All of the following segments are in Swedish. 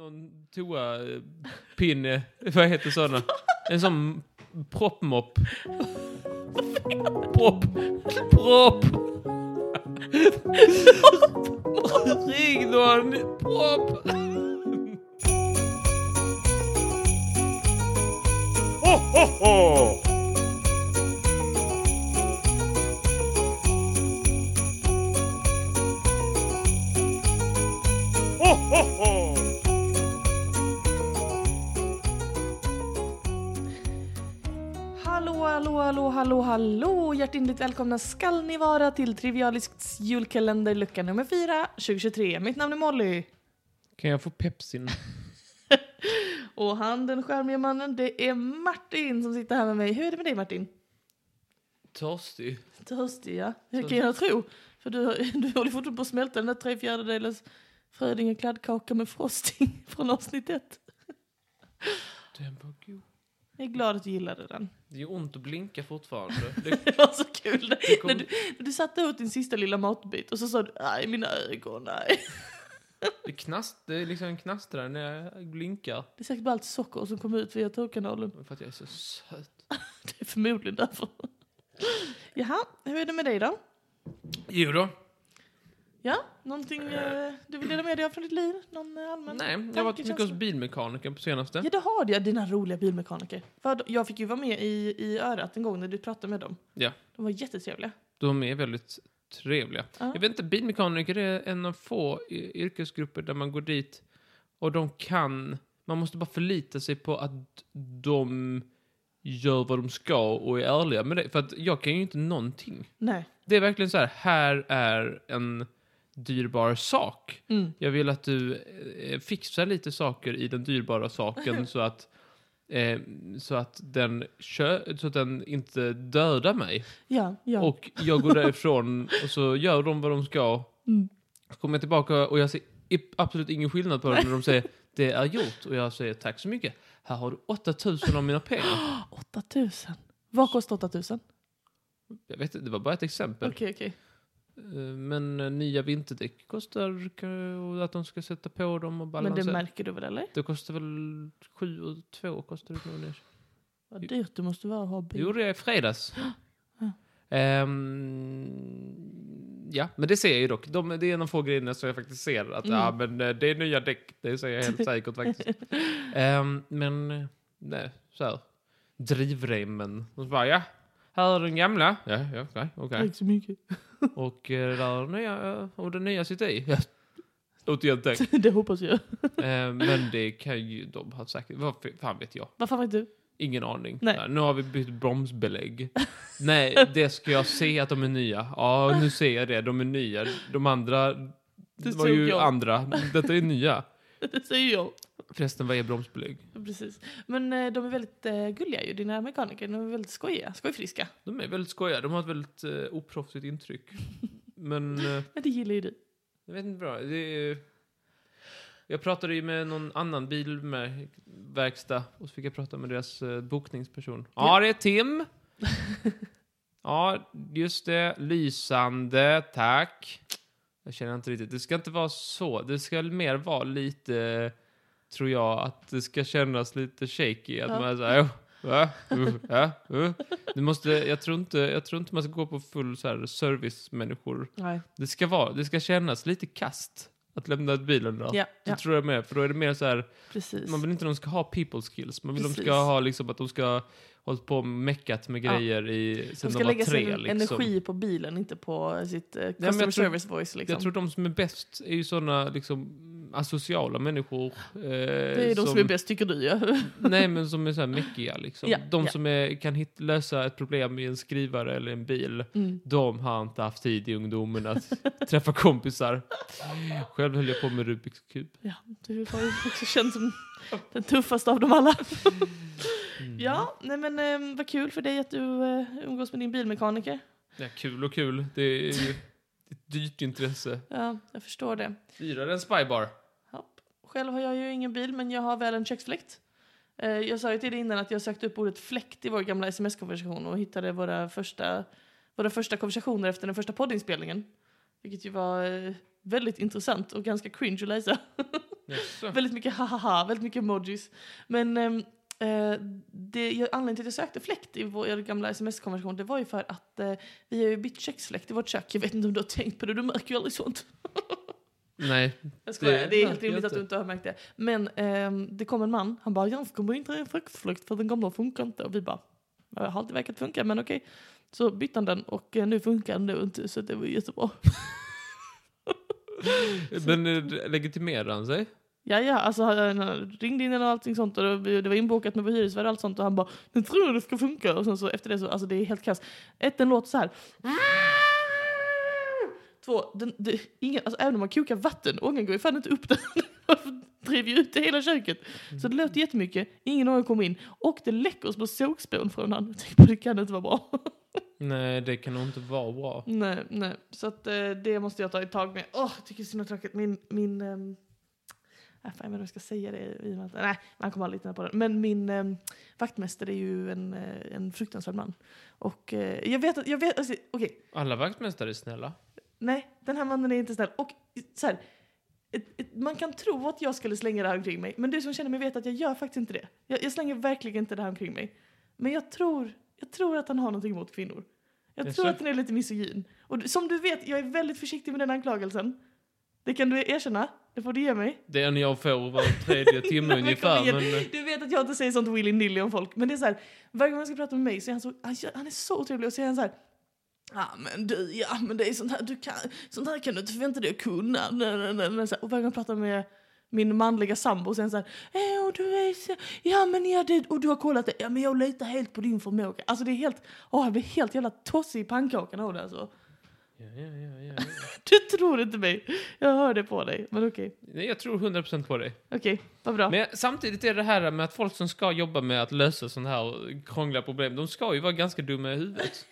sån toapinne. Vad heter sådana? En sån proppmopp. Propp. Propp. Ring någon. Propp. Hallå, hallå, hallå, hallå, hallå! Hjärtinligt välkomna skall ni vara till Trivialisks julkalender lucka nummer 4 2023. Mitt namn är Molly. Kan jag få pepsin? Och han, den skärmige mannen, det är Martin som sitter här med mig. Hur är det med dig Martin? Törstig. Törstig ja, det kan jag tro. För du, du håller fortfarande på att smälta den där tre fjärdedelars Frödinge kladdkaka med frosting från avsnitt ett. Den var god. Jag är glad att du gillade den. Det gör ont att blinka fortfarande. Det, Det var så kul. det kom, När du, när du satte åt din sista lilla matbit och så sa du nej mina ögon, nej. det, knast, det liksom knastrar när jag blinkar. Det är säkert bara allt socker som kommer ut via torrkanalen. För att jag är så söt. Det är förmodligen därför. Jaha, hur är det med dig då? Jo då. Ja, någonting eh, du vill dela med dig av från ditt liv? Någon eh, allmän Nej, jag har varit mycket hos tankekänsla? bilmekanikern på senaste. Ja, det har du. ja, Dina roliga bilmekaniker. För jag fick ju vara med i, i örat en gång när du pratade med dem. Ja. De var jättetrevliga. De är väldigt trevliga. Ja. Jag vet inte, bilmekaniker är en av få y- yrkesgrupper där man går dit och de kan... Man måste bara förlita sig på att de gör vad de ska och är ärliga med det. För att jag kan ju inte någonting. Nej. Det är verkligen så här, här är en dyrbar sak. Mm. Jag vill att du eh, fixar lite saker i den dyrbara saken så att, eh, så att, den, kö- så att den inte dödar mig. Ja, ja. Och jag går därifrån och så gör de vad de ska. Mm. Så kommer jag tillbaka och jag ser i- absolut ingen skillnad på dem när de säger det är gjort. Och jag säger tack så mycket. Här har du 8000 av mina pengar. 8000. Vad kostar 8000? Jag vet inte, det var bara ett exempel. Okej, okej. Eh, Men eh, nya vinterdäck kostar eh, och att de ska sätta på dem och Men det balansera. märker du väl eller? Det kostar väl 7 och 2 kostar det nog nu. Vad dyrt det måste vara att ha Det bil. gjorde jag i fredags. Ja. Ehm, ja, men det ser jag ju dock. De, det är en av få grejerna som jag faktiskt ser. Att Mm. ah, men eh, det är nya däck, det ser jag helt säkert faktiskt. Ehm, men eh, nej, så här. Drivremmen. Och så bara, ja, här är den gamla. Ja, ja, okej. okej. Tack så mycket. Och, eh, där är den nya, eh, och den nya sitter i. Ja. Återigen tack. det hoppas jag. Ehm, men det kan ju de ha säkert. Vad fan vet jag? Vad fan vet du? Ingen aning. Nej. Ja, Nu har vi bytt bromsbelägg. Nej, det ska jag se att de är nya. Ja, nu ser jag det. De är nya. De andra det var såg ju jag. andra. Detta är nya. Det säger jag. Förresten, vad är bromsbelägg? Ja, Precis. Men eh, de är väldigt eh, gulliga ju, dina mekaniker. De är väldigt skojiga, skojfriska. De är väldigt skojiga. De har ett väldigt eh, oproffsigt intryck. Men eh, Men det gillar ju du. jag vet inte bra. Det är, jag pratade ju med någon annan bilverkstad och så fick jag prata med deras eh, bokningsperson. Ja, det är Tim. Ja, just det. Lysande, tack. Jag känner inte riktigt. Det ska inte vara så. Det ska mer vara lite, tror jag, att det ska kännas lite shaky. Att Ja. man är så här, "Oh, va? Uh, ja, uh." Du måste, jag, tror inte, jag tror inte man ska gå på full så här, service-människor. Nej. Det ska, vara, det ska kännas lite kast att lämna ut bilen då. Ja, Det ja tror jag med, för då är det mer så här, precis. man vill inte att de ska ha people skills, man vill att de ska Precis. ha liksom att de ska ha hållit på och meckat med Ja. grejer i, sen de de, ska var lägga tre sin liksom. energi på bilen, inte på sitt eh, men jag customer tror- service voice. Liksom. Jag tror de som är bäst är ju sådana liksom asociala människor. Eh, det är de som, är bäst tycker du ja. Nej men som är så här meckiga liksom. Ja, de ja. som är, kan hit, lösa ett problem i en skrivare eller en bil. Mm. De har inte haft tid i ungdomen att träffa kompisar. Själv höll jag på med Rubiks kub. ja. Du har ju också känt som den tuffaste av dem alla. Mm. Ja, nej men eh, vad kul för dig att du eh, umgås med din bilmekaniker. Ja, kul och kul. Det är ju ett dyrt intresse. Ja, jag förstår det. Dyrare än Spybar. Ja. Själv har jag ju ingen bil, men jag har väl en köksfläkt. Eh, Jag sa ju till dig innan att jag sökte upp ordet fläkt i vår gamla sms-konversation och hittade våra första, våra första konversationer efter den första poddinspelningen. Vilket ju var eh, väldigt intressant och ganska cringe att läsa. Jaså. Väldigt mycket hahaha, väldigt mycket emojis. Men ehm, eh, det, jag- anledningen till att jag sökte fläkt i vår gamla sms-konversation det var ju för att eh, vi har ju bytt köksfläkt i vårt kök. Jag vet inte om du har tänkt på det, du märker ju aldrig sånt. Nej. Jag skojar, det, Det- är helt Nej, rimligt jag att du inte har märkt det. Men ehm, det kom en man, han bara “jag kommer inte i en köksfläkt för den gamla funkar inte” och vi bara “det har alltid verkat funka, men okej”. Så bytte han den och eh, nu funkar den då inte, så det var jättebra. Men eh, legitimerar han sig? Ja, ja, alltså han han ringde in en och allting sånt och det var- det var inbokat med vår hyresvärd och allt sånt och han bara nu tror jag det ska funka och sen så efter det så, alltså det är helt kass. Ett, den låter så här. Två, den, det, ingen, alltså även om man kokar vatten, ångan går ju fan inte upp den. Man drev ju ut det hela köket. Så det lät jättemycket, ingen ånga kom in och det läcker små sågspån från han. Jag tänkte, det kan inte vara bra. Nej, det kan nog inte vara bra. nej, nej, så att eh, det måste jag ta ett tag med. Åh, jag tycker det är så himla tråkigt. Min, min, ehm, Nej, fan, jag vet inte om jag ska säga det i och med att, nej, man kommer aldrig hitta på den. Men min eh, vaktmästare är ju en, eh, en fruktansvärd man. Och eh, jag vet att, jag vet, alltså, okej, Alla vaktmästare är snälla. nej, den här mannen är inte snäll. Och eh, så här, ett, ett, man kan tro att jag skulle slänga det här omkring mig, men du som känner mig vet att jag gör faktiskt inte det. Jag, jag slänger verkligen inte det här omkring mig. Men jag tror, jag tror att han har någonting emot kvinnor. Jag Jaså? tror att han är lite misogyn. Och du- som du vet, jag är väldigt försiktig med den anklagelsen. Det kan du erkänna, det får du ge mig. Det är en jag får var tredje timme Nej, men kom ungefär. igen. Men, eh, Du vet att jag inte säger sånt willy nilly om folk, men det är så här, varje gång han ska prata med mig så är han så, han gör- han är så otrevlig och så är han så här, Ja men du, ja men det är sånt här, du kan, sånt här kan du inte förvänta dig att kunna. Nej, nej, nej, nej. Så här, Och varje gång jag pratar med min manliga sambo så är han så här, "Eh, och du är så, ja men ja det, och du har kollat det, ja men jag litar helt på din förmåga. Alltså det är helt, åh jag blir helt jävla tossig i pannkakan av det alltså. ja, ja, ja, ja, ja. Du tror inte mig, jag hör det på dig, men okej, Nej, Jag tror 100% på dig. okej, vad bra. Men samtidigt är det här med att folk som ska jobba med att lösa sådana här krångliga problem, de ska ju vara ganska dumma i huvudet.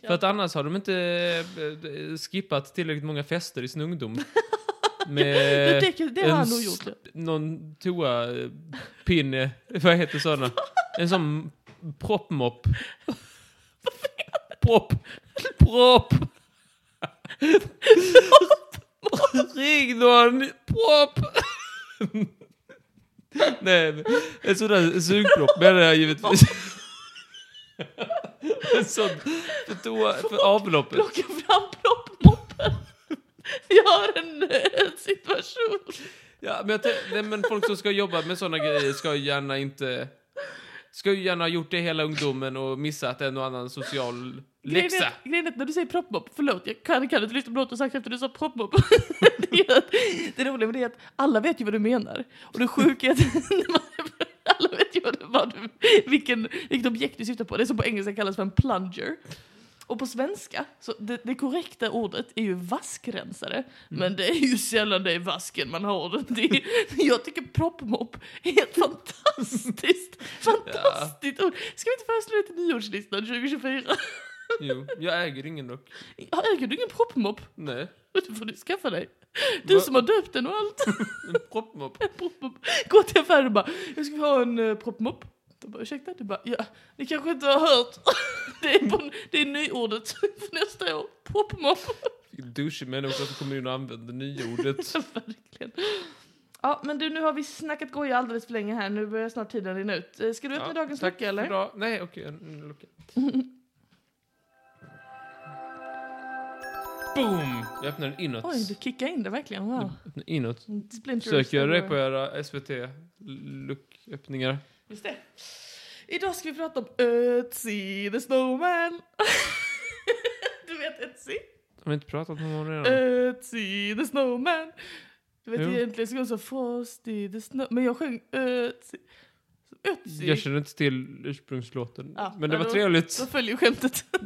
För att annars har de inte eh, skippat tillräckligt många fester i sin ungdom. det, Med det, det har en han nog gjort. ja. sl- någon toapinne, eh, vad heter sådana? En sån proppmopp. Propp. Propp. Ring någon. Propp. Nej, men en sån där sugpropp menar jag givetvis. En sån för, toa, för avloppet. plocka fram proppmoppen. Jag har en, en situation. Ja, men, jag tän- nej, men folk som ska jobba med sådana grejer ska ju gärna inte... Ska ju gärna ha gjort det hela ungdomen och missat en och annan social Grejen läxa. är- Grejen är att när du säger proppmopp, förlåt, jag kan, kan inte lyssna på något du sagt efter du sa proppmopp. det, är att- det roliga med det är att alla vet ju vad du menar. Och det sjuka är att när man- alla vet ju vad du, vad du, vilken, vilket objekt du syftar på. Det som på engelska kallas för en plunger. Och på svenska, så det, det korrekta ordet är ju vaskrensare. Men det är ju sällan det är vasken man har den till. Jag tycker proppmopp är ett fantastiskt, fantastiskt ord. Ska vi inte föreslå det till nyårslistan 2024? Jo, jag äger ingen dock. Jag äger du ingen proppmopp? Nej, Det får du skaffa dig. Du Va? som har döpt den och allt. en proppmopp. En proppmopp. Gå till affären och bara, jag ska ha en uh, proppmopp. De bara, ursäkta? Du bara, ja, ni kanske inte har hört. Det är, på, det är nyordet för nästa år. Proppmopp. Vilken Douchig människa som kommer in och använder nyordet. Verkligen. Ja, men du, nu har vi snackat goja alldeles för länge här. Nu börjar snart tiden rinna ut. Eh, Ska du öppna dagens tack lucka, eller? för idag. Nej, okej. en lucka. Boom! Jag öppnar den inåt. Oj, du kickade in det verkligen. Wow. Inåt. Splinter Söker jag det Cell. på era SVT-lucköppningar? Just det. Idag ska vi prata om Ötzi the Snowman. du vet Ötzi? Har vi inte pratat om honom redan? Ötzi the Snowman. Du vet Jo. egentligen så går det så Frosty the Snow... Men jag sjöng Ötzi. Jag Ötzi. känner inte till ursprungslåten. Ja, men det ja, var då- Så trevligt. följer ju skämtet.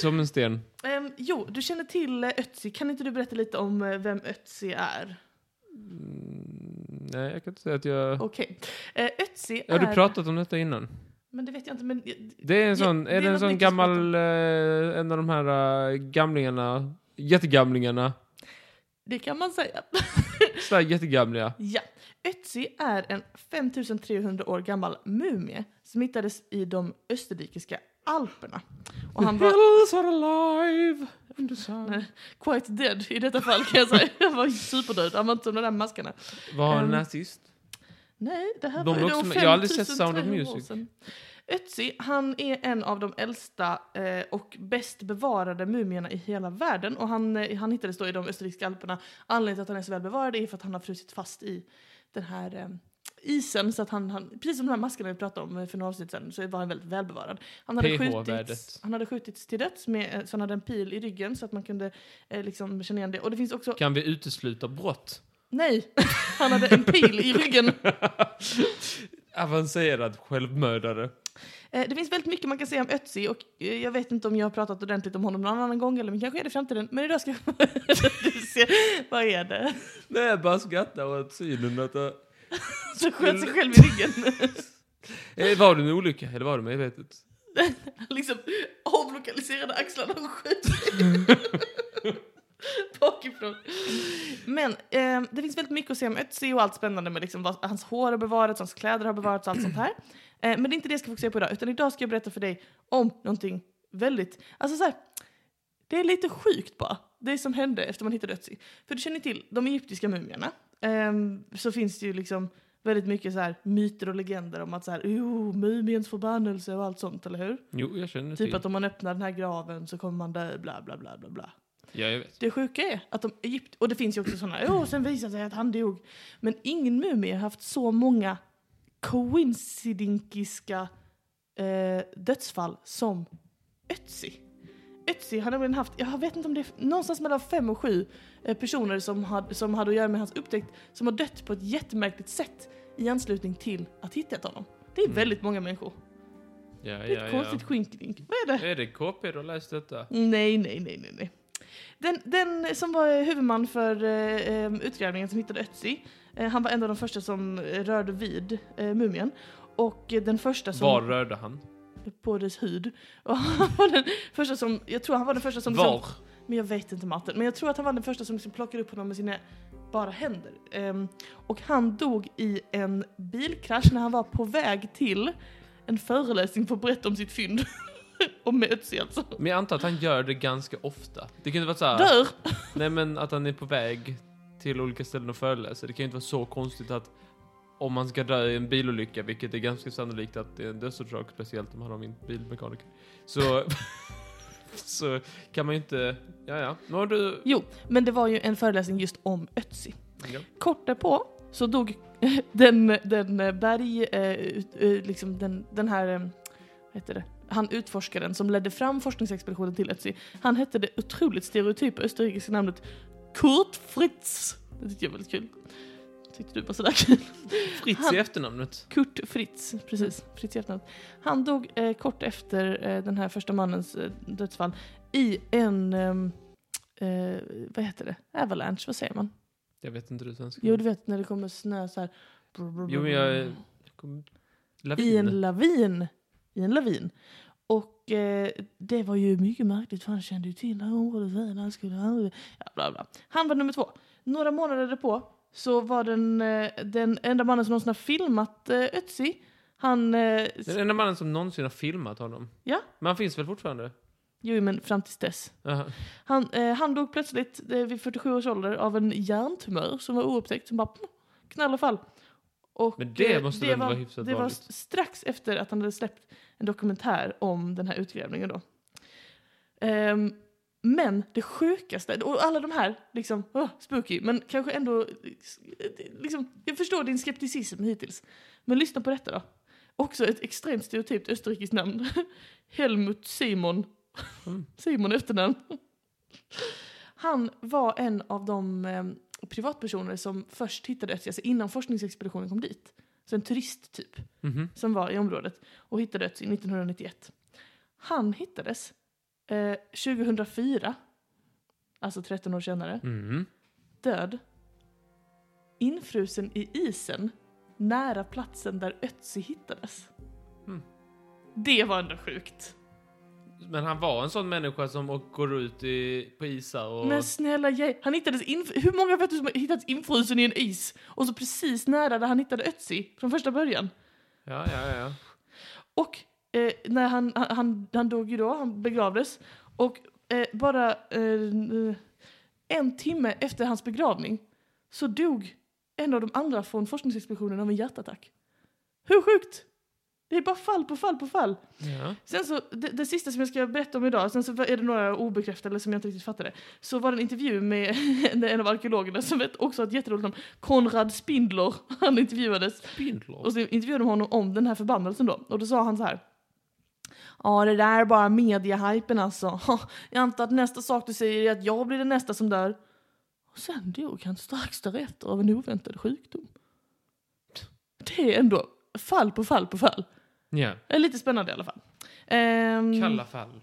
Som en sten. Ehm, jo, du känner till eh, Ötzi. Kan inte du berätta lite om eh, vem Ötzi är? Mm, nej, jag kan inte säga att jag... Okej. Eh, Ötzi Har är... du pratat om detta innan? Men det vet jag inte, men... jag- Det är en Ja, sån, det är är det en något sån Niklas gammal, eh, en av de här eh, gamlingarna, jättegamlingarna, Det kan man säga. sådär jättegamliga. Ja, Ötzi är en 5300 år gammal mumie som hittades i de österrikiska alperna. Och han var... Hills are alive! Intressant. Quite dead i detta fall kan jag säga. Jag var superdöd, använt som de där maskarna. Var Ehm, han nazist? Nej, det här De var var ju då också med- 5 jag har aldrig sett Sound of 300 år Music. sedan. Ötzi, han är en av de äldsta eh, och bäst bevarade mumierna i hela världen. Och han, eh, han hittades då i de österrikiska alperna. Anledningen till att han är så välbevarad är för att han har frusit fast i den här eh, isen. Så att han, han, precis som de här maskerna vi pratade om eh, för några avsnitt sedan så var han väldigt välbevarad. Han hade, PH-värdet. skjutits, han hade skjutits till döds med, eh, så han hade en pil i ryggen så att man kunde eh, liksom känna igen det. Och det finns också Kan vi utesluta brott? Nej, han hade en pil i ryggen. Avancerad självmördare. Eh, Det finns väldigt mycket man kan säga om Ötzi och eh, jag vet inte om jag har pratat ordentligt om honom någon annan gång eller men kanske är det i framtiden. Men idag ska jag... Du ser, vad är det? Nej, jag bara skrattar åt synen att... eh, jag- Så sköt sig själv i ryggen. Eh, Var det en olycka eller var det medvetet? Liksom avlokaliserade axlarna och sköt sig. Bakifrån. Men eh, det finns väldigt mycket att se om Ötzi och allt spännande med liksom vad, hans hår har bevarats, hans kläder har bevarats, allt sånt här. Eh, men det är inte det jag ska fokusera på idag, utan idag ska jag berätta för dig om någonting väldigt, alltså så här, det är lite sjukt bara, det som hände efter man hittade Ötzi. För du känner till, de egyptiska mumierna, ehm, så finns det ju liksom väldigt mycket så här myter och legender om att så här, oh, mumiens förbannelse och allt sånt, eller hur? Jo, jag känner Typ till. att om man öppnar den här graven så kommer man dö, bla bla bla bla bla. Ja, jag vet. Det sjuka är att de Egypt, och det finns ju också sådana, åh sen visade det sig att han dog. Men ingen mumie har haft så många coincidinkiska eh, dödsfall som Ötzi. Ötzi har nämligen haft, jag vet inte om det är någonstans mellan fem och sju eh, personer som, had, som hade att göra med hans upptäckt som har dött på ett jättemärkligt sätt i anslutning till att hitta honom. Det är Mm. väldigt många människor. Ja, Det är ett ja, ja. konstigt skinkdink. Vad är det? Är det KP du har läst detta? Nej, nej, nej, nej, nej. Den, den som var huvudman för eh, eh, utgrävningen som hittade Ötzi, eh, han var en av de första som eh, rörde vid eh, mumien. Och eh, den första som... Var rörde han? På dess hud. Och han var den första som, jag tror han var den första som... liksom- Var? men jag vet inte matten. Men jag tror att han var den första som liksom plockade upp honom med sina bara händer. Ehm, och han dog i en bilkrasch när han var på väg till en föreläsning för att berätta om sitt fynd. om Ötzi alltså. Men jag antar att han gör det ganska ofta. Det kan inte vara så här... Dör! Nej men att han är på väg till olika ställen och föreläser. Det kan ju inte vara så konstigt att om man ska dö i en bilolycka, vilket är ganska sannolikt att det är en dödsorsak, speciellt om han har min bilmekaniker, så, så kan man ju inte... Ja, ja. Nu har du... Jo, men det var ju en föreläsning just om Ötzi. Ja. Kort därpå så dog den, den eh, berg, eh, ut- eh, liksom den, den här, eh, vad heter det? Han utforskaren som ledde fram forskningsexpeditionen till Ötzi. Han hette det otroligt stereotypa österrikiska namnet Kurt Fritz. Det tyckte jag var väldigt kul. Tyckte du var sådär kul? Fritz Han- i efternamnet. Kurt Fritz, precis. Fritz i efternamn. Han dog eh, kort efter eh, den här första mannens eh, dödsfall i en, ehm, eh, vad heter det, avalanche, vad säger man? Jag vet inte du svenska. Jo, du vet när det kommer snö så här. Jo, men jag... kom- I en Lavin. lavin. I en lavin. Och eh, det var ju mycket märkligt för han kände ju till det här området väl. Han skulle aldrig... Ja, bla, bla. Han var nummer två. Några månader därpå så var den, eh, den enda mannen som någonsin har filmat eh, Ötzi. Han... Eh, Den enda mannen som någonsin har filmat honom. Ja. Men han finns väl fortfarande? jo, men fram tills dess. Jaha. Han, eh, han dog plötsligt eh, vid 47 års ålder av en hjärntumör som var oupptäckt. Som bara pff, knall och fall. Och, Men det eh, måste väl vara hyfsat Det var vanligt? strax efter att han hade släppt en dokumentär om den här utgrävningen då. Ehm, men det sjukaste, och alla de här, liksom, åh, spooky, men kanske ändå, eh, liksom, jag förstår din skepticism hittills. Men lyssna på detta då. Också ett extremt stereotypt österrikiskt namn. Helmut Simon. Mm. Simon i efternamn. Han var en av de eh, privatpersoner som först hittade Ötzi, alltså innan forskningsexpeditionen kom dit. Så en turist typ, Mhm. som var i området och hittade Ötzi 1991. Han hittades eh, 2004, alltså 13 år senare, Mhm. död, infrusen i isen nära platsen där Ötzi hittades. Mm. Det var ändå sjukt. Men han var en sån människa som och går ut i, på isar och... Men snälla jag, han hittades in, hur många vet du som har hittats infrusen i en is? Och så precis nära där han hittade Ötzi från första början. Ja, ja, ja, ja. Och eh, när han, han, han dog ju då, han begravdes. Och eh, bara eh, en timme efter hans begravning så dog en av de andra från forskningsexpeditionen av en hjärtattack. Hur sjukt? Det är bara fall på fall på fall. Ja. Sen så, det, det sista som jag ska berätta om idag, sen så är det några obekräftade som jag inte riktigt fattade. Så var det en intervju med en av arkeologerna som vet också har ett jätteroligt namn, Konrad Spindler. Han intervjuades Spindlar. och så intervjuade de honom om den här förbannelsen då. Och då sa han så här. Ja, det där är bara mediehypen alltså. Jag antar att nästa sak du säger är att jag blir den nästa som dör. Och sen dog han strax därefter av en oväntad sjukdom. Det är ändå fall på fall på fall. Ja. Eh, Lite spännande i alla fall. Ehm, Kalla fall.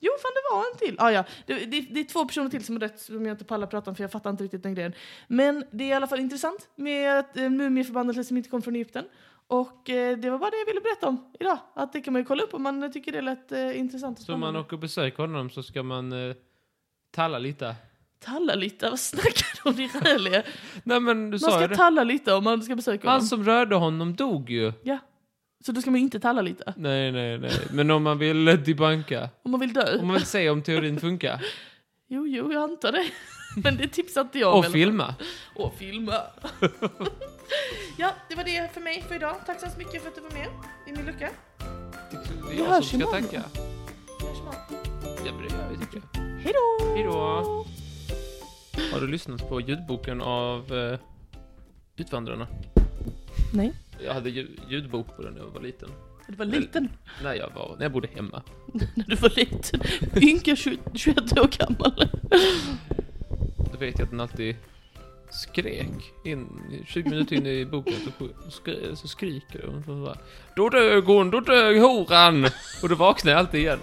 Jo, fan det var en till. Ah, ja. det, det, det är två personer till som är rätt som jag inte pallar prata om för jag fattar inte riktigt den grejen. Men det är i alla fall intressant med att, eh, mumieförbannelsen som inte kom från Egypten. Och eh, det var bara det jag ville berätta om idag. Att det kan man ju kolla upp om man tycker det lät eh, intressant. och Så om man spännande. åker och besöker honom så ska man eh, talla lite. Talla lite, vad snackar du om din räliga? Nej men du Man sa ju ska det. talla lite om man ska besöka Han honom. som rörde honom dog ju. Ja. Så då ska man inte talla lite. Nej, nej, nej. Men om man vill debanka. Om man vill dö. Om man vill se om teorin funkar. Jo, jo, jag antar det. Men det tipsar inte jag om. Och eller? filma. och filma. ja, det var det för mig för idag. Tack så hemskt mycket för att du var med i min lucka. Det är Vi jag hörs som ska imorgon. tacka. Vi hörs imorgon. Ja, men det gör vi tycker jag. Hej då! Hej då! Har du lyssnat på ljudboken av eh, Utvandrarna? Nej, Jag hade ljud, ljudbok på den när jag var liten. du var liten När jag var, när jag bodde hemma. när du var liten. Ynka 20 21 år gammal. Då vet jag att den alltid skrek in, 20 minuter in i boken så, skri, så skriker hon så bara, Då dög hon, då dög horan! Och då vaknar jag alltid igen.